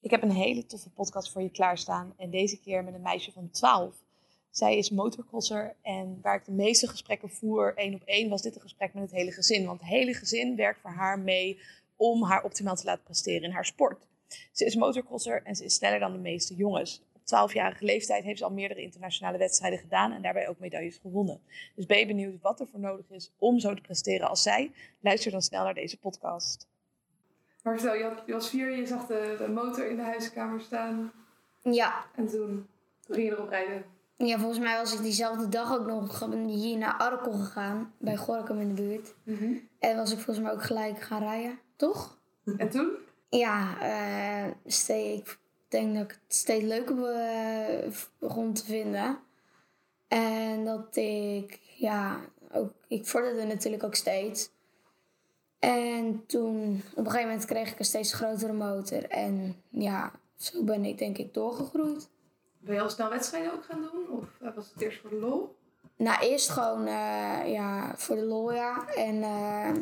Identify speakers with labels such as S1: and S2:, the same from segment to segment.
S1: Ik heb een hele toffe podcast voor je klaarstaan en deze keer met een meisje van 12. Zij is motorcrosser en waar ik de meeste gesprekken voer, één op één, was dit een gesprek met het hele gezin. Want het hele gezin werkt voor haar mee om haar optimaal te laten presteren in haar sport. Ze is motorcrosser en ze is sneller dan de meeste jongens. Op 12-jarige leeftijd heeft ze al meerdere internationale wedstrijden gedaan en daarbij ook medailles gewonnen. Dus ben je benieuwd wat er voor nodig is om zo te presteren als zij? Luister dan snel naar deze podcast.
S2: Maar stel, je, had- je was vier, je zag de, de motor in de huiskamer staan.
S3: Ja.
S2: En toen, toen ging je erop rijden.
S3: ja, volgens mij was ik diezelfde dag ook nog hier naar Arkel gegaan. Bij Gorkum in de buurt.
S2: Mhm.
S3: En was ik volgens mij ook gelijk gaan rijden. Toch?
S2: En toen?
S3: Ja, eh, steeds, ik denk dat ik het steeds leuker be- begon te vinden. En dat ik, ja, ook, ik vorderde natuurlijk ook steeds. En toen, op een gegeven moment kreeg ik een steeds grotere motor. En ja, zo ben ik denk ik doorgegroeid.
S2: Ben je al snel wedstrijden ook gaan doen? Of eh, was het eerst voor de lol?
S3: Nou, eerst gewoon eh, ja, voor de lol, ja. En eh,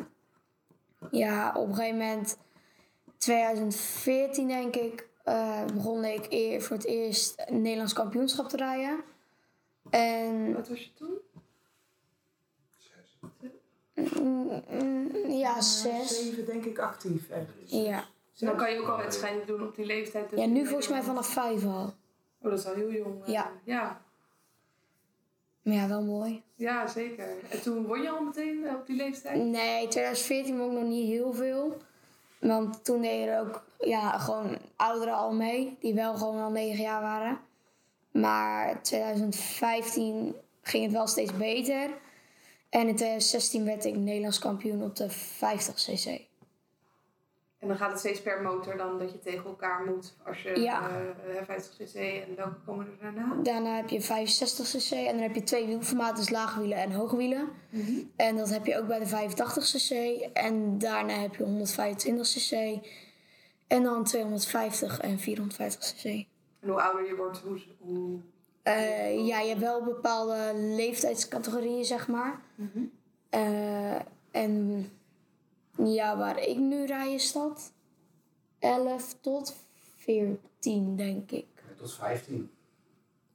S3: ja, op een gegeven moment, 2014 denk ik, eh, begon ik eer, voor het eerst een Nederlands kampioenschap te rijden. En
S2: Wat was je toen?
S3: mm, mm, ja, zes.
S4: Zeven denk ik actief ergens.
S3: Ja.
S2: Dan kan je ook al wedstrijden doen op die leeftijd.
S3: ja, nu volgens mij vanaf vijf al.
S2: Oh, dat is al heel jong. eh,
S3: Ja.
S2: ja.
S3: Maar ja, wel mooi.
S2: Ja, zeker. En toen won je al meteen eh, op die leeftijd?
S3: Nee, 2014 won ik nog niet heel veel. Want toen deden er ook ja, gewoon ouderen al mee, die wel gewoon al 9 jaar waren. Maar 2015 ging het wel steeds beter. En in 2016 werd ik Nederlands kampioen op de 50cc.
S2: En dan gaat het steeds per motor dan dat je tegen elkaar moet als je
S3: Ja.
S2: eh, eh, 50 cc en welke komen er daarna?
S3: Daarna heb je 65cc en dan heb je twee wielformaten, dus laagwielen en hoogwielen. En dat heb je ook bij de 85cc. En daarna heb je 125cc. En dan 250 en 450cc.
S2: En hoe ouder je wordt, hoe, hoe...
S3: Eh, ja, je hebt wel bepaalde leeftijdscategorieën, zeg maar. Eh, en ja, waar ik nu rij is dat 11 tot 14, denk ik.
S5: Tot 15.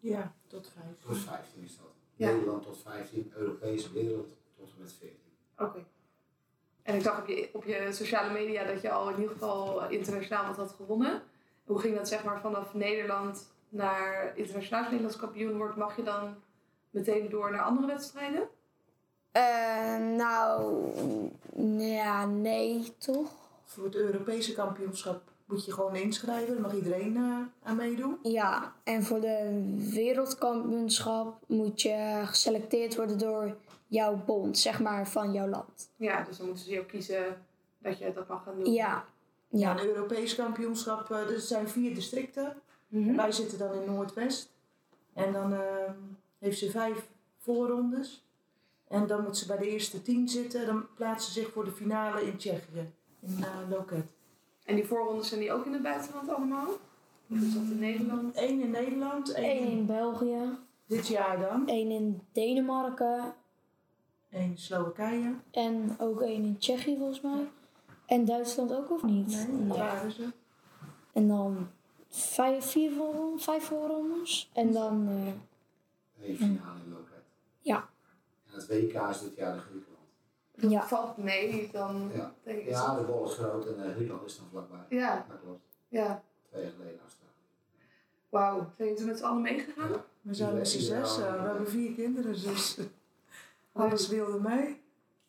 S4: Ja, tot vijf.
S5: Tot 15 is dat.
S2: Ja.
S5: Nederland tot 15, Europese wereld tot en met 14.
S2: Oké. En ik zag op je, op je sociale media dat je al in ieder geval eh, internationaal wat had gewonnen. Hoe ging dat zeg maar vanaf Nederland naar internationaal als je Nederlands kampioen wordt? Mag je dan meteen door naar andere wedstrijden?
S3: Eh, nou, ja, nee, toch?
S4: Voor het Europese kampioenschap moet je gewoon inschrijven. Daar mag iedereen eh, aan meedoen.
S3: Ja, en voor de wereldkampioenschap moet je geselecteerd worden door jouw bond, zeg maar, van jouw land.
S2: Ja, dus dan moeten ze jou kiezen dat je dat mag gaan doen.
S3: Ja,
S4: Ja.
S3: ja.
S4: Het Europees kampioenschap, eh, er zijn vier districten.
S2: Mhm.
S4: Wij zitten dan in Noordwest. En dan eh, heeft ze vijf voorrondes. En dan moet ze bij de eerste tien zitten. Dan plaatsen ze zich voor de finale in Tsjechië. In eh, Loket.
S2: En die voorrondes zijn die ook in het buitenland allemaal? Of is dat in Nederland?
S4: Eén in Nederland, één
S3: Mhm. Eén
S4: in
S3: in België,
S4: dit jaar dan.
S3: één in Denemarken,
S4: Eén in Slowakije.
S3: En ook één in Tsjechië volgens mij. En Duitsland ook of niet?
S4: Nee, daar waren ze.
S3: En dan vijf, vier voorron- vijf voorrondes. En dan eh,
S5: Eén finale in Loket.
S3: ja.
S5: En het WK is dit jaar in Griekenland.
S3: ja.
S2: Valt mee, dan
S5: Ja.
S2: denk ik
S5: Ja, de bol is groot en eh, Griekenland is dan vlakbij.
S2: Ja.
S5: Dat klopt.
S2: Ja.
S5: Twee jaar geleden Australië.
S2: Wauw. Zijn jullie toen met z'n allen meegegaan?
S5: Ja.
S4: We zijn met z'n zes. eh, We hebben vier kinderen, dus alles wilde mee.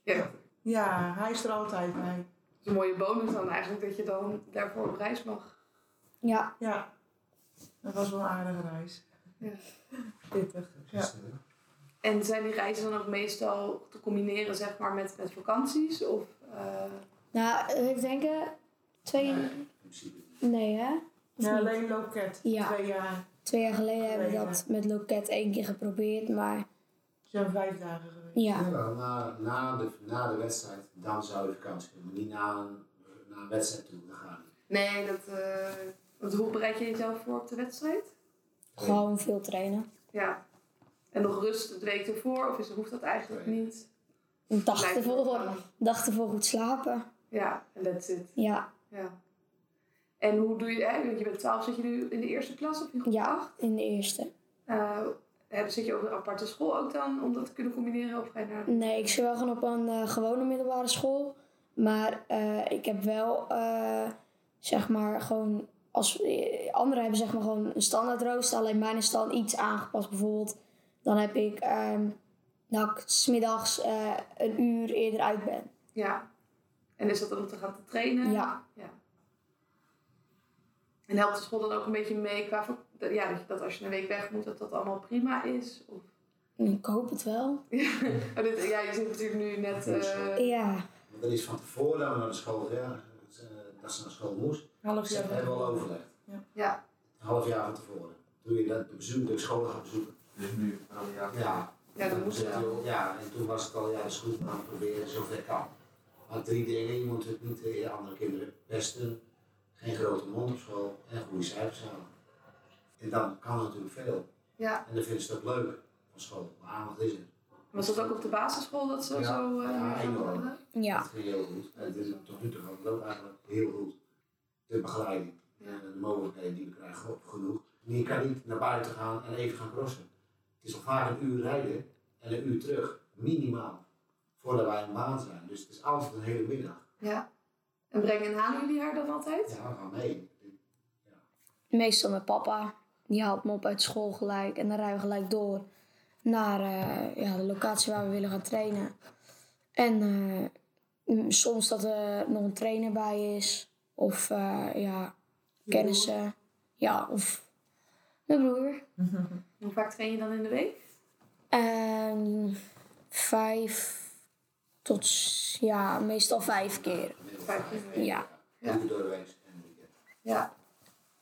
S2: Ja. Dat
S4: Ja, hij is er altijd bij.
S2: is een mooie bonus dan eigenlijk, dat je dan daarvoor op reis mag.
S3: ja.
S4: Ja, dat was wel een aardige reis.
S2: Ja.
S4: Pittig. Ja.
S5: Gisteren.
S2: En zijn die reizen dan ook meestal te combineren zeg maar met, met vakanties? Of, eh,
S3: Nou, ik denk eh, twee...
S5: Nee, in principe niet.
S3: Nee hè? Of
S4: Ja,
S3: niet?
S4: alleen loket.
S3: Ja.
S4: Twee jaar.
S3: Twee jaar geleden hebben we
S4: Alleen,
S3: dat met Loket één keer geprobeerd. Maar
S4: We zijn vijf dagen geweest.
S3: ja.
S5: Jawel, na, na, de, na de wedstrijd, dan zou je vakantie kunnen. Maar niet na een, na een wedstrijd toe, dan gaan niet.
S2: Nee, dat... eh, want hoe bereid je jezelf voor op de wedstrijd?
S3: Gewoon veel trainen.
S2: Ja. En nog rust de week ervoor? Of is, hoeft dat eigenlijk
S5: Nee.
S2: niet?
S3: Een dag
S2: Lijkt me
S3: ervoor.
S2: wel.
S3: Een dag ervoor goed slapen.
S2: Ja, en that's it.
S3: Ja.
S2: Ja. En hoe doe je, hè, want je bent 12, zit je nu in de eerste klas of in groep
S3: Ja,
S2: 8?
S3: in de eerste.
S2: zit je op een aparte school ook dan om dat te kunnen combineren? Of ga je naar...
S3: Nee, ik zit wel gewoon op een eh, gewone middelbare school. Maar eh, ik heb wel, eh, zeg maar, gewoon... Als, eh, anderen hebben zeg maar gewoon een standaard rooster. Alleen mijn is dan iets aangepast. Bijvoorbeeld, dan heb ik ehm dat ik smiddags eh, een uur eerder uit ben.
S2: Ja. En is dat dan om te gaan te trainen?
S3: Ja.
S2: En helpt de school dan ook een beetje mee qua... vak- Ja, dat, je, dat als je een week weg moet, dat dat allemaal prima is? Of...
S3: Ik hoop het wel.
S2: Oh, dit, ja, je zit natuurlijk nu net... eh,
S3: Ja,
S5: Want er is van tevoren dat we naar de school ja, dat ze naar school moest.
S4: Half
S5: Dus dat
S4: jaar.
S5: hebben we al overlegd.
S2: ja.
S5: Een half jaar van tevoren. Doe je dat de, bezoek, de scholen gaan bezoeken.
S6: Dus nu, maar dan ja.
S5: Ja.
S2: Ja, dat moest
S5: Ja,
S2: wel.
S5: Ja, en toen was het al, ja, dat is goed, maar we proberen zover kan. Maar drie dingen, je moet het niet eh, andere kinderen pesten. Geen grote mond op school en goede cijfers halen. En dan kan het natuurlijk veel.
S2: Ja.
S5: En dan vinden ze het ook leuk van school. Maar aandacht is er.
S2: Was dat ook op de basisschool dat ze
S5: Ja.
S2: zo... eh,
S5: Ja, enorm.
S2: hadden?
S3: ja.
S5: Dat ging heel goed. En het is tot nu toe gaat het ook eigenlijk heel goed. De begeleiding en de mogelijkheden die we krijgen op genoeg. Maar je kan niet naar buiten gaan en even gaan crossen. Het is al vaak een uur rijden en een uur terug, minimaal, voordat wij een baan zijn. Dus het is altijd een hele middag.
S2: ja. En brengen en halen jullie haar dan altijd?
S5: Ja, we gaan mee.
S3: Meestal met papa. Die haalt me op uit school gelijk. En dan rijden we gelijk door naar eh, ja, de locatie waar we willen gaan trainen. En eh, m- soms dat er nog een trainer bij is. Of eh, ja, kennissen. Ja, of mijn broer.
S2: Hoe vaak train je dan in de week?
S3: En vijf tot, s- ja, meestal vijf keer.
S2: Vijf keer in de week.
S3: Ja.
S5: Een uur doorwees en eh, weekend.
S2: Ja.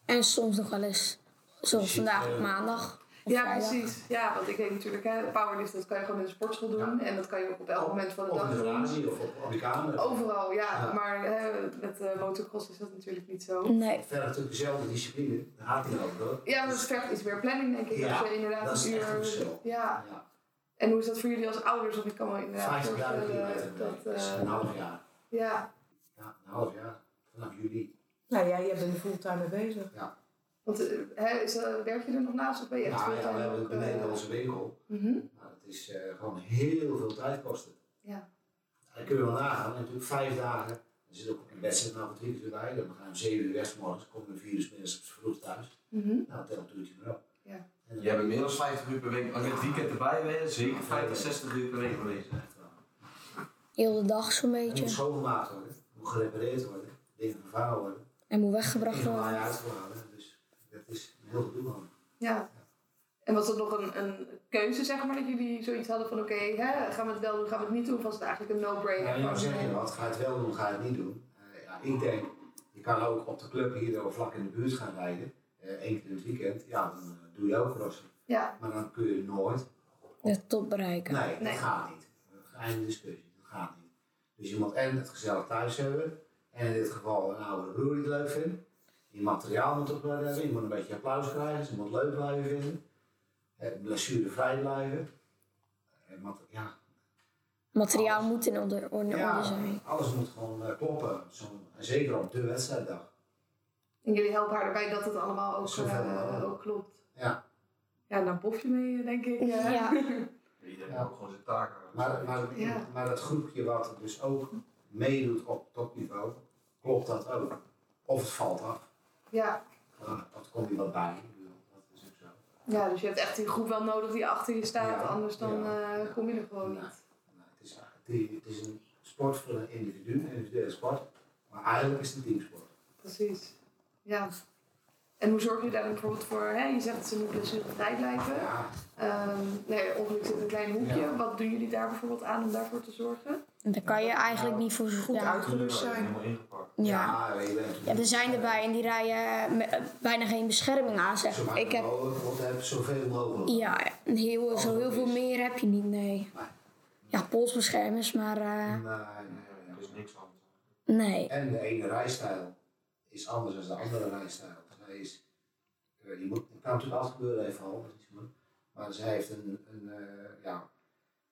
S3: En soms nog wel eens, zoals vandaag op maandag. of
S2: Ja,
S3: vrijdag.
S2: precies. Ja, want ik denk natuurlijk, hè, powerlift, dat kan je gewoon in de sportschool doen. En dat kan je ook op elk moment van de
S5: Of in
S2: dag
S5: de
S2: doen.
S5: garage of op, op de kamer.
S2: Overal, ja.
S5: Ja.
S2: Maar hè, met eh, motocross is dat natuurlijk niet zo.
S3: Nee,
S5: Verder natuurlijk dezelfde discipline, daar gaat hij over hoor.
S2: Ja, maar dat vergt iets meer planning, denk ik.
S5: Ja,
S2: als je inderdaad
S5: dat is
S2: een
S5: echt een
S2: uur-
S5: verschil.
S2: Ja.
S5: Ja.
S2: En hoe is dat voor jullie als ouders? Want ik kan me inderdaad
S5: 50.000
S2: voorstellen
S5: kilometer,
S2: dat...
S5: dat is
S2: eh,
S5: een half jaar.
S2: ja,
S5: Ja, een half jaar. Vanaf juli.
S4: Nou ja, jij bent er fulltime mee bezig.
S2: want eh, hè, is, eh, werk je er nog naast of ben je echt
S5: Nou ja,
S2: fulltime
S5: we hebben
S2: ook, eh,
S5: beneden onze winkel.
S2: mhm.
S5: Nou, het is eh, gewoon heel veel tijd kosten.
S2: Ja.
S5: Dat kun je wel nagaan. En natuurlijk vijf dagen. Er zit ook een wedstrijd nou voor drie uur bij. Dan gaan we om zeven uur weg 's morgens. Kom je om vier uur 's middags vroeg thuis.
S2: mhm.
S5: Nou, tel het uurtje maar op.
S2: Ja.
S5: En dan-
S6: Jij bent meer dan 50 uur per week, als je het weekend erbij bent, zeker 50, 60 uur per week geweest.
S5: Echt wel.
S3: heel de dag zo'n
S5: Het moet
S3: beetje.
S5: schoongemaakt worden. Het moet gerepareerd worden. Dingen vervangen worden.
S3: En moet
S5: Dingen
S3: weggebracht
S5: van
S3: worden.
S5: mij uitgeladen. Dus dat is een heel gedoe man.
S2: Ja. En was dat nog een, een keuze, zeg maar, dat jullie zoiets hadden van oké, hè, gaan we het wel doen, gaan we het niet doen? Of was het eigenlijk een
S5: Ja,
S2: no-brainer?
S5: nou zeg je wat, ga je het wel doen, ga je het niet doen. Eh, ja, ik denk, je kan ook op de club hier door vlak in de buurt gaan rijden. Eh, één keer in het weekend, ja, dan eh, doe je ook crossen.
S2: Ja,
S5: Maar dan kun je nooit.
S3: De top bereiken.
S5: Nee, dat
S2: Nee.
S5: gaat niet. Einde discussie, dat gaat niet. Dus je moet en het gezellig thuis hebben. En in dit geval een oude broer die het leuk vindt. Je materiaal moet op orde hebben. Je moet een beetje applaus krijgen. Ze moet het leuk blijven vinden. Eh, blessurevrij blijven. Eh, mater- ja,
S3: Materiaal moet in orde, orde
S5: ja,
S3: zijn.
S5: alles moet gewoon eh, kloppen. Zo'n- en zeker op de wedstrijddag.
S2: en jullie helpen haar erbij dat het allemaal ook,
S5: Zoveel
S2: eh,
S5: mogelijk.
S2: ook klopt.
S5: Ja.
S2: Ja, dan bof je mee, eh, denk ik. hè?
S3: Ja.
S6: Iedereen heeft ook gewoon zijn taken. Dus
S5: Maar, maar,
S2: Ja.
S5: maar dat groepje wat dus ook meedoet op topniveau, klopt dat ook. Of het valt af.
S2: ja.
S5: Ja, dat komt iemand bij. Ik bedoel, Dat is ook zo.
S2: Ja, dus je hebt echt die groep wel nodig die achter je staat,
S5: Ja,
S2: anders dan
S5: ja.
S2: eh, kom je er gewoon
S5: Nee.
S2: niet.
S5: Nou, het, is, eigenlijk- het is een sport voor een individu, een individuele sport. Maar eigenlijk is het een teamsport.
S2: Precies. Ja. En hoe zorg jullie daar dan bijvoorbeeld voor? Hè? Je zegt dat ze moet blessurevrij blijven.
S5: Ja,
S2: Ehm, nee, ongeluk zit in een klein hoekje.
S5: Ja.
S2: Wat doen jullie daar bijvoorbeeld aan om daarvoor te zorgen?
S3: En Daar kan je eigenlijk niet voor zo goed
S4: Goed
S3: ja.
S4: uitgerust zijn.
S6: Helemaal ingepakt.
S3: ja.
S5: ja, je bent-
S3: Ja, er zijn erbij en die rijden met, eh, bijna geen bescherming aan. Zeg.
S5: Zo maak
S3: Ik heb,
S5: mogelijk, want heb zoveel mogelijk.
S3: ja, een heel, zo heel veel meer heb je niet, nee.
S5: Maar-
S3: Ja, polsbeschermers, maar eh,
S5: Maar,
S6: Ja, Er is niks anders.
S3: nee.
S5: En de ene rijstijl is anders dan de andere rijstijl. Zij is, eh, je moet, het kan natuurlijk altijd gebeuren, even al, dat is niet moeilijk. maar zij heeft een, een eh, ja,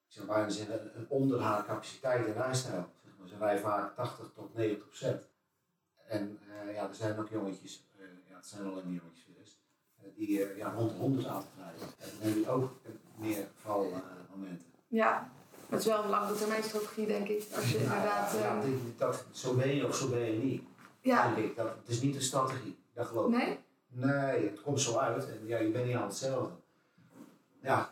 S5: ik zou bijna zeggen, Dus een- een onder haar capaciteit in rijstijl. Zeg maar. Ze rijdt vaak 80 tot 90 procent. En eh, ja, er zijn ook jongetjes, eh, ja, het zijn alleen maar jongetjes geweest, eh, die eh, ja, rond de 100 aangekrijgen. En dan hebben die ook meer eh, valmomenten.
S2: Ja, het is wel een lange termijn strategie, denk ik. Als je inderdaad.
S5: ja,
S2: eh,
S5: dit- dat, zo ben je of zo ben je niet.
S2: ja,
S5: Denk ik. Dat, het is niet een strategie, dat geloof ik.
S2: nee?
S5: Nee, het komt zo uit en ja, je bent niet aan hetzelfde. Ja,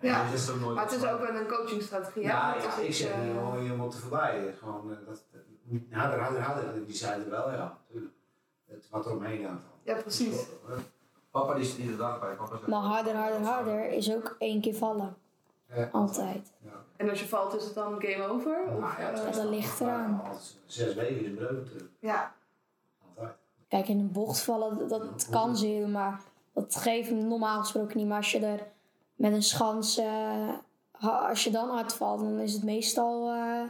S2: Ja.
S6: dat is ook nooit
S2: Maar het is
S6: ontspannen.
S2: ook wel een coachingstrategie. hè?
S5: ja,
S2: Want
S5: nou ja,
S2: het is
S5: ik
S2: iets,
S5: zeg
S2: eh,
S5: niet hoor je moet er voorbij. Gewoon, eh, dat, eh, niet harder, harder, harder. En Die zeiden wel, ja, tuurlijk. Het wat er omheen gaat.
S2: ja, precies.
S6: Papa die zit iedere dag bij. Papa zegt,
S3: Maar Nou, harder, harder, harder is ook één keer vallen.
S5: Ja.
S3: Altijd.
S5: Ja.
S2: En als je valt, is het dan game over? Of,
S5: Nou ja,
S2: eh,
S3: Ah, dat is- ligt eraan.
S5: Als Zes weken is een breuk natuurlijk.
S2: ja.
S5: Altijd.
S3: Kijk, in een bocht vallen, dat kan ze heel, maar dat geeft normaal gesproken niet. Maar als je er met een schans, eh, ha- als je dan hard valt, dan is het meestal eh,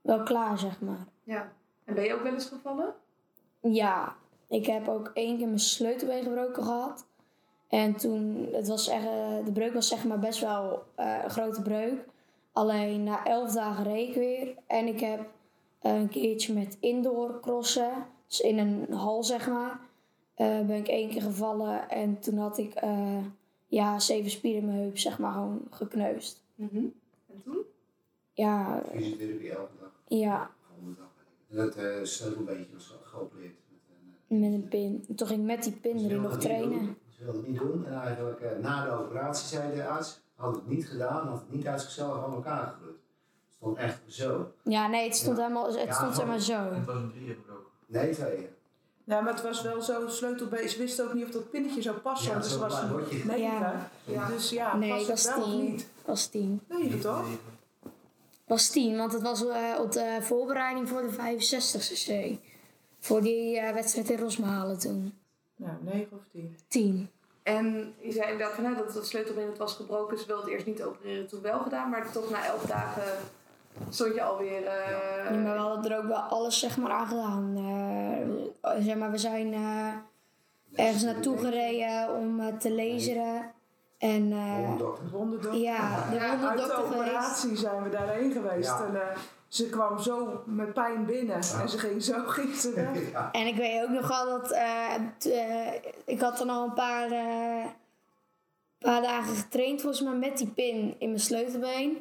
S3: wel klaar, zeg maar.
S2: ja. En ben je ook wel eens gevallen?
S3: Ja, ik heb ook één keer mijn sleutelbeen gebroken gehad. En toen, het was echt, eh, de breuk was zeg maar best wel eh, een grote breuk. Alleen na elf dagen reek weer. En ik heb een keertje met indoor crossen, dus in een hal zeg maar, eh, ben ik één keer gevallen. En toen had ik eh, ja, zeven spieren in mijn heup zeg maar gewoon gekneusd.
S2: Mhm. En toen?
S3: Ja,
S5: Fysiotherapie elke dag.
S3: ja,
S5: Volgende dag. En dat eh sleutelbeentje was ge- geopereerd. Met een, eh,
S3: met een pin. Toen ging ik met die pin
S5: Ze
S3: erin
S5: wilden
S3: nog
S5: het niet
S3: trainen.
S5: doen. Ze wilden het niet doen. En eigenlijk eh, na de operatie, zei de arts, had het niet gedaan, had het niet uit zichzelf aan elkaar gegroeid. Het stond echt zo.
S3: Ja, nee, het stond
S5: Ja.
S3: helemaal, het
S5: Ja,
S3: stond
S5: gewoon-
S3: helemaal zo.
S6: Het was een drieën gebroken.
S5: Nee, tweeën.
S4: Nou, maar het was wel zo, sleutelbeen. Ze wisten ook niet of dat pinnetje zou passen.
S5: Ja,
S4: want
S5: het
S4: dus
S5: was
S4: was
S5: een klein
S4: een
S5: bordje.
S4: meter.
S2: Ja.
S4: Dus ja,
S3: Nee,
S4: was
S3: ik
S4: het
S3: was
S4: wel of
S3: tien.
S4: niet?
S3: was tien.
S4: Nee, je toch?
S3: was tien, want het was eh, op de voorbereiding voor de 65cc. Voor die eh, wedstrijd in Rosmalen toen.
S4: Nou, 9 of 10.
S3: Tien.
S2: En je zei inderdaad van, hè, dat het sleutelbeen het was gebroken. Ze wilde het eerst niet opereren, toen wel gedaan. Maar toch na elf dagen stond je alweer... eh,
S3: Ja, maar we hadden er ook wel alles zeg maar, aan gedaan. Eh, zeg maar, we zijn eh, ergens naartoe gereden om eh, te laseren. En eh,
S5: Volgende dokter.
S4: Wonderdokter.
S3: ja, de
S2: Ja,
S4: Uit de
S3: wonderdokter geweest.
S4: operatie zijn we daarheen geweest.
S5: Ja.
S4: En eh, ze kwam zo met pijn binnen.
S5: Ja.
S4: En ze ging zo ging ze weg.
S5: Ja.
S3: En ik weet ook nog wel dat eh, t- eh, ik had dan al een paar, eh, paar dagen getraind volgens mij met die pin in mijn sleutelbeen.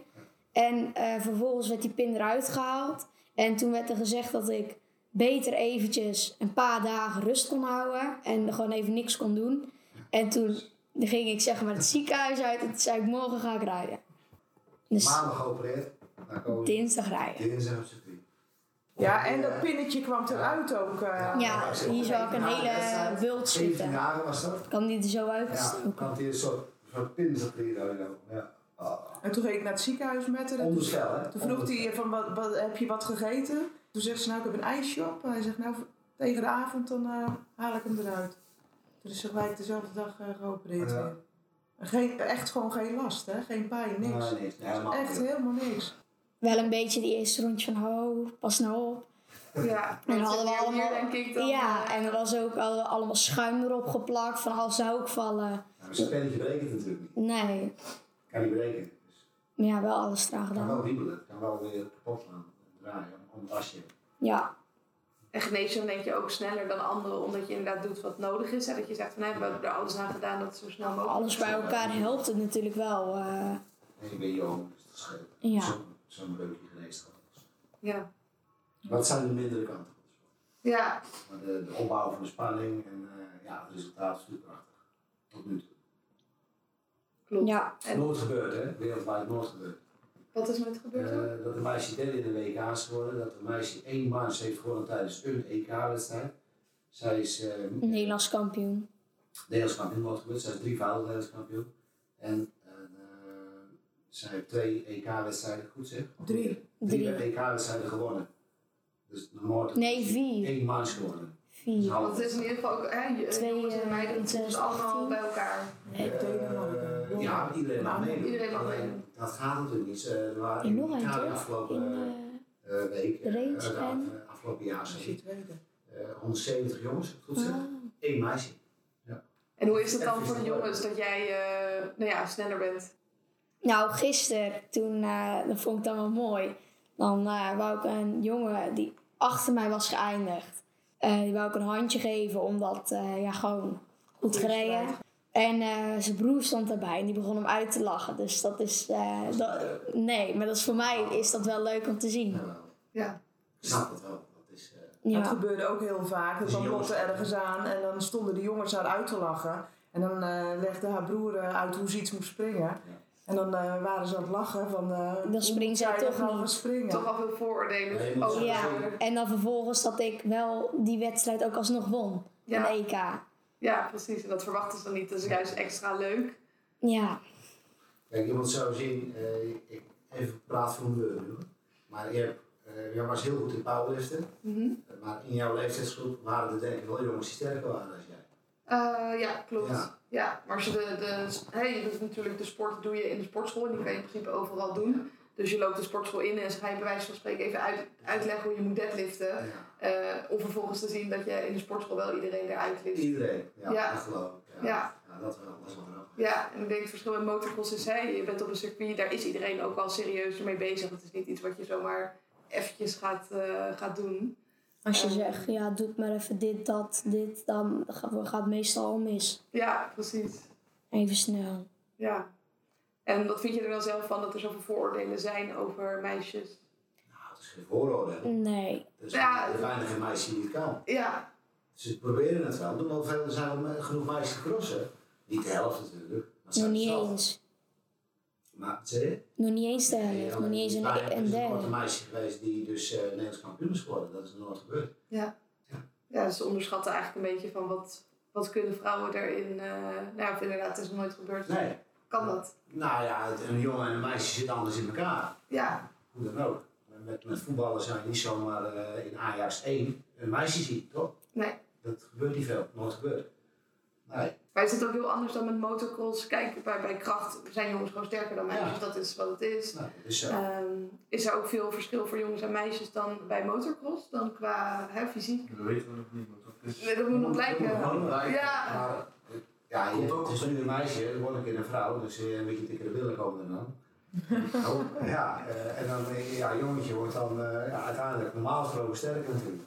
S3: En eh, vervolgens werd die pin eruit gehaald. En toen werd er gezegd dat ik beter eventjes een paar dagen rust kon houden en gewoon even niks kon doen. En toen ging ik zeg maar het ziekenhuis uit en toen zei ik morgen ga ik rijden. Dus
S5: Maandag geopereerd. Dan komen we
S3: dinsdag rijden.
S5: dinsdag op circuit.
S4: Ja, en dat pinnetje kwam eruit ook. eh.
S3: Ja, hier zou ik een hele bult
S5: 17
S3: zitten.
S5: dagen was dat.
S3: Ik kan die er zo
S5: Ja,
S3: uitgestoken.
S5: want die is zo- zo'n pin zat erin. daar ook. Ja. Ah,
S4: En toen ging ik naar het ziekenhuis met haar. En toen-
S5: Onderstel, hè?
S4: Toen vroeg hij van, wat, wat, heb je wat gegeten? Toen zegt ze, nou, ik heb een ijsje op. Hij zegt, nou, tegen de avond dan eh, haal ik hem eruit. Toen is ze gelijk dezelfde dag eh, geopereerd
S5: Ja.
S4: weer. En Geen, echt gewoon geen last, hè? Geen pijn, niks.
S5: Nee, niks. Nee, helemaal
S4: echt
S5: niet.
S4: helemaal niks.
S3: wel een beetje die eerste rondje van ho, pas nou op.
S2: Ja,
S3: En
S2: dat
S3: hadden we
S2: zit hier,
S3: allemaal.
S2: denk ik, dan,
S3: ja,
S2: eh,
S3: en er was ook hadden we allemaal schuim erop geplakt van als zou ik vallen.
S5: Nou, Zo'n pennetje berekent natuurlijk niet.
S3: Nee,
S5: Kan niet berekenen. Dus
S3: maar ja, wel alles traag
S5: kan
S3: gedaan.
S5: wel wiebelen. Kan wel weer kapot gaan draaien om het asje.
S3: Ja,
S2: En geneesheer denk je ook sneller dan anderen, omdat je inderdaad doet wat nodig is. En dat je zegt van, nee, we hebben er alles aan gedaan dat het zo snel mogelijk
S3: alles bij elkaar helpt het natuurlijk wel. eh.
S5: En ik ben jong, dus dat scheelt.
S3: Ja.
S5: Zo'n- Zo'n breukje geneest gewoon.
S2: Ja.
S5: Wat zijn de mindere kanten?
S2: Ja.
S5: Maar de, de opbouw van de spanning en eh, ja, het resultaat is natuurlijk prachtig. Tot nu toe.
S2: Klopt.
S3: ja,
S2: En-
S5: Nooit gebeurd, hè? Eh, Wereldwijd nooit gebeurd.
S2: Wat is er met gebeurd? dan?
S5: Eh, dat een meisje derde in de WK is geworden, dat een meisje één maand heeft gewonnen tijdens een EK-wedstrijd. Zij is eh,
S3: een Nederlands kampioen.
S5: Nederlands kampioen nooit gebeurd, zij is drievoudig Nederlands kampioen. En eh, zij heeft twee EK-wedstrijden, goed zeg?
S4: Drie.
S5: Drie
S3: Drie.
S5: EK-wedstrijden gewonnen. Dus nog nooit.
S3: Nee, vier.
S5: Eén maand gewonnen.
S3: Vier.
S2: Want het is in ieder geval ook, hè, je-
S3: Twee,
S2: jongens en
S3: eh,
S2: meiden, het is
S3: 2018.
S2: allemaal bij elkaar.
S4: Eh, Denemarken.
S5: Eh, ja, iedereen mag meedoen.
S2: Iedereen mag
S5: Alleen,
S2: meedoen.
S5: Dat gaat natuurlijk niet. Ze waren
S3: En
S5: in
S3: nog een
S5: Italië
S3: toch?
S5: afgelopen
S3: In, eh,
S5: eh, week,
S3: de
S5: eh,
S3: race
S5: eh,
S3: en-
S5: eh, afgelopen jaar,
S4: Als
S5: sorry.
S4: je het weet.
S5: Eh, 170 jongens, als ik het goed zeg.
S3: ah.
S5: Eén meisje.
S2: En hoe is het dan voor de jongens dat jij eh, nou ja, sneller bent?
S3: Nou, gisteren, toen, eh, dat vond ik dan wel mooi. Dan eh, wou ik een jongen die achter mij was geëindigd. eh, Eh, die wou ik een handje geven, omdat eh, ja, gewoon goed gereden. En eh, zijn broer stond daarbij en die begon hem uit te lachen. Dus dat is. eh, dat, nee, maar dat is voor mij is dat wel leuk om te zien.
S5: Nou,
S2: Ja.
S5: ik snap dat wel. Dat is, eh,
S4: Dat
S3: Ja,
S4: gebeurde ook heel vaak. Dan
S5: Dus Die
S4: kwam
S5: jongens.
S4: Lotte ergens aan en dan stonden de jongens haar uit te lachen. En dan eh, legde haar broer eh, uit hoe ze iets moest springen. En dan eh, waren ze aan het lachen van... eh,
S3: Dan springt zij
S4: hoe zou je
S3: toch
S4: dan gaan
S3: niet.
S4: Springen.
S2: Toch al veel vooroordelen.
S5: Nee,
S2: over
S3: ja.
S2: natuurlijk.
S3: En dan vervolgens dat ik wel die wedstrijd ook alsnog won.
S2: Ja.
S3: Een EK.
S2: ja, precies. En dat verwachten ze dan niet. Dat is juist extra leuk.
S3: Ja.
S5: Kijk, iemand zou zien, eh, ik even praat voor mijn nu. hoor. Maar je hebt, eh, jij was heel goed in powerliften. Eh,
S2: Mhm.
S5: Maar in jouw leeftijdsgroep waren er denk ik wel jongens die sterker waren dan jij.
S2: Eh, ja, klopt.
S5: Ja.
S2: Ja. maar als je de, de, hè, dat is natuurlijk de sport doe je in de sportschool en die kan je in principe overal doen. Dus je loopt de sportschool in en ze gaan je bij wijze van spreken even uit, uitleggen hoe je moet deadliften.
S5: Ja.
S2: eh, om vervolgens te zien dat je in de sportschool wel iedereen eruit lift.
S5: Iedereen, ja,
S2: Ja.
S5: dat geloof ik. Ja.
S2: Ja.
S5: Ja, dat wel, dat is wel grappig.
S2: Ja, en ik denk het verschil met motocross is, hè, je bent op een circuit, daar is iedereen ook wel serieus mee bezig. Het is niet iets wat je zomaar eventjes gaat, eh, gaat doen.
S3: Als je
S2: Eh.
S3: zegt, ja, doe het maar even dit, dat, dit, dan gaat gaat het meestal al mis.
S2: Ja, precies.
S3: Even snel.
S2: Ja. En wat vind je er dan zelf van dat er zoveel vooroordelen zijn over meisjes?
S5: Nou, het is geen vooroordeel.
S3: Nee.
S5: Dus Er
S2: Ja.
S5: zijn weinig meisjes die het kan.
S2: Ja,
S5: Ze proberen het wel. Er doen wel veel, er zijn wel genoeg meisjes te crossen. Niet de helft natuurlijk. Maar het
S3: Nog
S5: zijn
S3: niet
S5: er zat.
S3: eens.
S5: Maar zeg je?
S3: Nog niet eens de helft. nog niet eens een, e-
S5: Maar
S3: een
S5: Er is een
S3: derde.
S5: korte meisje geweest die dus eh Nederlands kampioen is geworden. Dat is nooit gebeurd.
S2: ja, ze onderschatten eigenlijk een beetje van wat, wat kunnen vrouwen daarin. eh nou ja, of inderdaad, het is nog nooit gebeurd.
S5: Nee.
S2: Kan dat?
S5: Nou ja, het- een jongen en een meisje zitten anders in elkaar.
S2: Ja,
S5: Hoe dan ook. Met, met voetballen zou je niet zomaar eh, in Ajax 1 een meisje zien, toch?
S2: nee.
S5: Dat gebeurt niet veel, nooit gebeurd. Nee.
S2: Maar is het ook heel anders dan met motocross? Kijk, bij, bij kracht zijn jongens gewoon sterker dan meisjes.
S5: Ja.
S2: Dat is wat het is.
S5: Nou, dus, eh,
S2: Ehm, is er ook veel verschil voor jongens en meisjes dan bij motocross? Dan qua hè, fysiek?
S6: Dat weten we nog niet, maar dat is...
S2: Nee, dat moet nog blijken.
S6: Dat moet nog blijken.
S2: Ja,
S5: maar, eh, ja, je- het is nu een meisje, er wordt een keer een vrouw, dus eh, een beetje dikkere billen komen er dan. Oh, ja, eh, en dan, eh, ja, jongetje wordt dan eh, ja, uiteindelijk normaal gesproken sterker natuurlijk.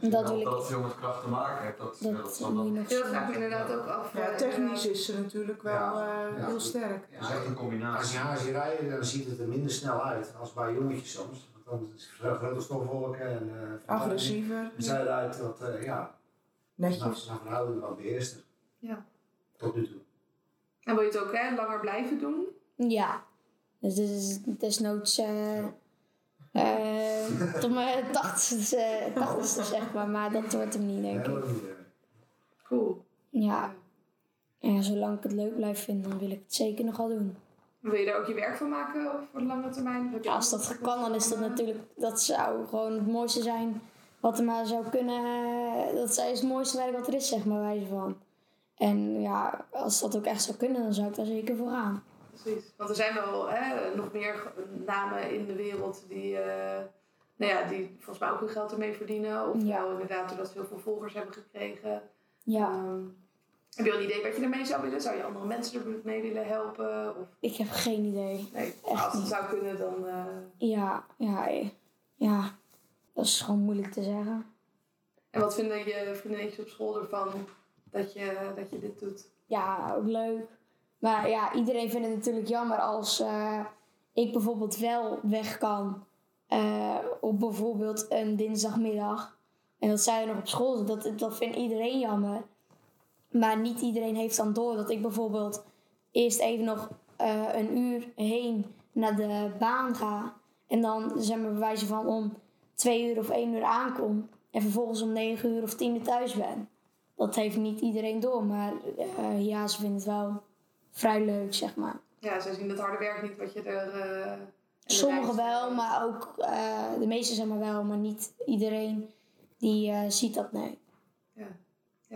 S3: Dat wil
S6: Dat
S3: ik.
S6: veel met kracht te maken heeft, dat, dat,
S3: Dat
S6: zal
S3: moet je
S6: dan-
S3: nog
S2: Ja, dat vraag ik me
S3: zien.
S2: inderdaad ook af.
S4: Ja,
S2: eh,
S4: technisch is ze natuurlijk wel
S5: Ja.
S4: eh,
S5: Ja.
S4: heel sterk.
S6: dat is echt
S5: Dus
S6: een
S5: Als je
S6: combinatie.
S5: haar ziet rijden, dan ziet het er minder snel uit als bij jongetjes soms. Want dan is het een grote stofwolken en eh,
S4: Agressiever.
S5: En zij eruit dat, eh, ja, naar
S4: Netjes.
S5: zijn verhouding wel beheerster.
S2: Ja.
S5: Tot nu toe.
S2: En wil je het ook hè, langer blijven doen?
S3: Ja. Dus dit is desnoods. eh eh, tot mijn tachtigste, tachtigste zeg maar. Maar dat wordt hem niet, denk ik.
S5: Heel moeilijk.
S2: Cool.
S3: Ja. ja. Zolang ik het leuk blijf vinden, dan wil ik het zeker nogal doen.
S2: Wil je daar ook je werk van maken voor de lange termijn? Heb je
S3: Ja, als dat kan, dan is dat natuurlijk. Dat zou gewoon het mooiste zijn. Wat er maar zou kunnen. eh, Dat is het mooiste werk wat er is, zeg maar, wijze van. En ja, als dat ook echt zou kunnen, dan zou ik daar zeker voor gaan.
S2: Precies. Want er zijn wel hè, nog meer ge- namen in de wereld die, eh, nou ja, die volgens mij ook hun geld ermee verdienen. Of
S3: Ja.
S2: nou inderdaad doordat ze heel veel volgers hebben gekregen.
S3: Ja,
S2: Ehm, heb je al een idee wat je ermee zou willen? Zou je andere mensen er mee willen helpen? Of,
S3: ik heb geen idee.
S2: nee,
S3: Echt
S2: als het
S3: niet.
S2: zou kunnen dan... eh.
S3: Ja, ja, eh, ja. Dat is gewoon moeilijk te zeggen.
S2: En wat vinden je vriendinnetjes op school ervan dat je, dat je dit doet?
S3: Ja, ook leuk. Maar ja, iedereen vindt het natuurlijk jammer als eh, ik bijvoorbeeld wel weg kan eh, op bijvoorbeeld een dinsdagmiddag. En dat zij er nog op school zit. Dat, dat vindt iedereen jammer. Maar niet iedereen heeft dan door dat ik bijvoorbeeld eerst even nog eh, een uur heen naar de baan ga. En dan zijn we bewijzen van om twee uur of één uur aankom. En vervolgens om negen uur of tien uur thuis ben. Dat heeft niet iedereen door. Maar eh, ja, ze vinden het wel vrij leuk, zeg maar.
S2: Ja, ze zien dat harde werk niet wat je er... eh, en de
S3: Sommigen
S2: rijst-
S3: wel, maar ook eh, de meeste zeg maar wel, maar niet iedereen die eh, ziet dat nee.
S2: Ja,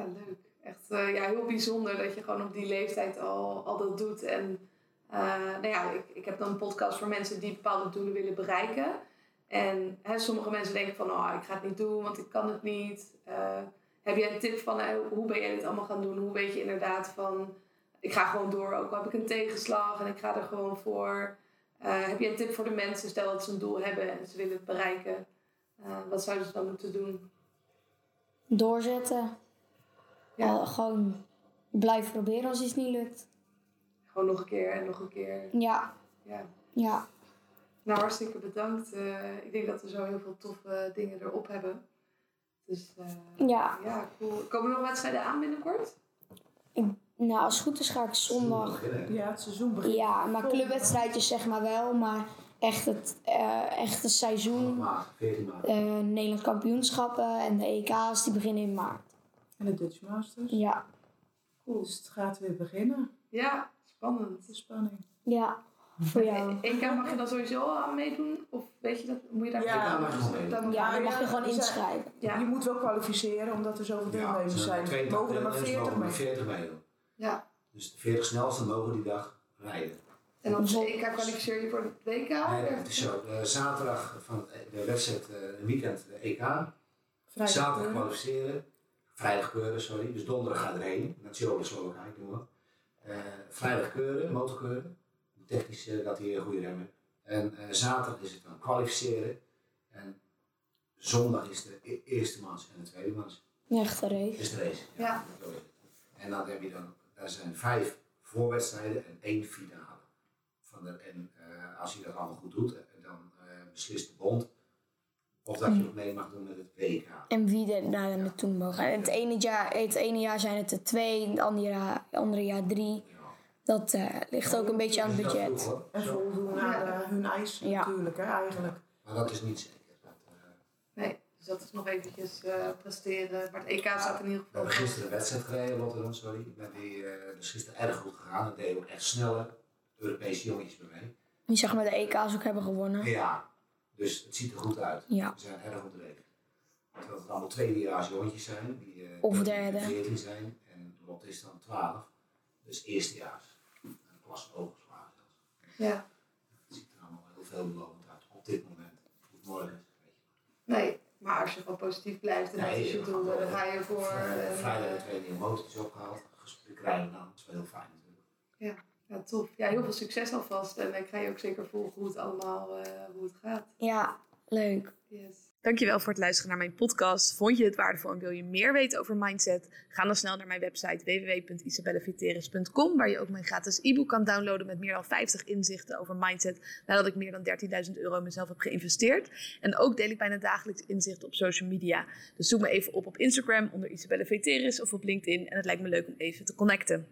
S2: leuk. Echt eh, ja, heel bijzonder dat je gewoon op die leeftijd al, al dat doet. En eh, nou ja, ik, ik heb dan een podcast voor mensen die bepaalde doelen willen bereiken. En hè, sommige mensen denken van, oh, ik ga het niet doen, want ik kan het niet. Eh, heb jij een tip van, eh, hoe ben jij dit allemaal gaan doen? Hoe weet je inderdaad van, ik ga gewoon door, ook al heb ik een tegenslag en ik ga er gewoon voor. Eh, heb jij een tip voor de mensen, stel dat ze een doel hebben en ze willen het bereiken. Eh, wat zouden ze dan moeten doen?
S3: doorzetten.
S2: Ja.
S3: Al- gewoon blijven proberen als iets niet lukt.
S2: Gewoon nog een keer en nog een keer.
S3: Ja,
S2: Ja.
S3: ja.
S2: Nou, hartstikke bedankt. Eh, ik denk dat we zo heel veel toffe dingen erop hebben. Dus eh,
S3: Ja.
S2: ja, cool. Komen er nog wedstrijden aan binnenkort?
S3: Nou, als het goed is ga ik zondag.
S4: Ja, het seizoen begint.
S3: Ja, maar clubwedstrijdjes zeg maar wel. Maar echt het, eh, echt het seizoen,
S5: Maar, 14 maart.
S3: eh Nederlands kampioenschappen en de EK's, die beginnen in maart.
S4: En de Dutch Masters.
S3: Ja,
S2: Cool.
S4: Dus het gaat weer beginnen.
S2: Ja, spannend.
S4: De spanning.
S3: ja. Voor jou.
S2: E- EK mag je dan sowieso al aan meedoen? Of weet je dat? Moet je daar...
S4: Ja.
S5: maar gewoon.
S2: Dan moet
S3: Ja,
S2: je-
S3: dan mag je gewoon
S4: Ja,
S3: inschrijven.
S2: Ja.
S4: Je moet wel kwalificeren omdat er zoveel deelnemers zijn. Er mogen er maar 40
S5: maar
S4: mee.
S5: 40 mee. joh.
S2: ja.
S5: Dus de 40 snelste mogen die dag rijden.
S2: En dan EK kwalificeer je voor het WK?
S5: Nee, dat is zo. Eh, zaterdag van het- de wedstrijd, eh weekend de EK. Zaterdag
S4: Vrijdag.
S5: kwalificeren. Vrijdag keuren, sorry. Dus donderdag gaat er heen. Natuurlijk Slowakije, ik noem wat. Eh, vrijdag keuren, motorkeuren. Technisch eh, dat hij een goede rem heeft. En eh, zaterdag is het dan kwalificeren. En zondag is de e- eerste mans en de tweede mans.
S3: Echte race.
S5: Is de race.
S2: Ja.
S5: dat wil je. En dan heb je dan, daar zijn vijf voorwedstrijden en één finale. Van de, en eh, als je dat allemaal goed doet, eh, dan eh, beslist de bond of dat
S3: Hm.
S5: je nog mee mag doen met het WK.
S3: En wie er naar naartoe mogen. En het, ene jaar, het ene jaar zijn het er twee, het andere jaar, andere jaar drie.
S5: Ja.
S3: Dat eh, ligt ook een beetje aan het
S5: Dat is wel
S3: budget.
S5: vroeg, hoor.
S4: En
S5: Zo.
S4: voldoen aan eh, hun eisen
S3: Ja.
S4: natuurlijk, hè, eigenlijk.
S5: Maar dat is niet zeker. Dat, eh,
S2: Nee, dus dat is nog eventjes eh, presteren. Maar het EK staat in ieder
S5: we hebben
S2: geval...
S5: gisteren een wedstrijd gereden in Rotterdam, sorry. Ik ben die, eh, dus gisteren erg goed gegaan. Dat deed ook echt snelle Europese jongetjes bij mij.
S3: Die zeg maar de EK's ook hebben
S5: Maar
S3: gewonnen.
S5: Ja, dus het ziet er goed uit.
S3: Hm. Ja.
S5: We zijn erg op de weg. Terwijl het allemaal tweedejaars jongetjes zijn. Die, eh,
S3: Of
S5: 13,
S3: derde.
S5: 14 zijn. En Lot is dan 12. Dus eerstejaars. En klas overgeslagen zelfs.
S2: Ja.
S5: Het ziet er allemaal heel veelbelovend uit. Op dit moment. Goed morgen.
S2: Nee, maar als je gewoon positief blijft en dat is je doel, dan ga je voor. en,
S5: Vrijdag de
S2: eh,
S5: twee nieuwe motortjes opgehaald. Gesprek rijden dan. Dat is wel heel fijn natuurlijk.
S2: ja, tof. Ja, heel veel succes alvast. En ik ga je ook zeker volgen hoe het allemaal eh, hoe het gaat.
S3: Ja, leuk.
S2: Yes.
S1: Dankjewel voor het luisteren naar mijn podcast. Vond je het waardevol en wil je meer weten over mindset? Ga dan snel naar mijn website www.isabelleviteris.com waar je ook mijn gratis e-book kan downloaden met meer dan 50 inzichten over mindset nadat ik meer dan 13.000 euro in mezelf heb geïnvesteerd. En ook deel ik bijna dagelijks inzichten op social media. Dus zoek me even op op Instagram onder Isabelle Veteris of op LinkedIn en het lijkt me leuk om even te connecten.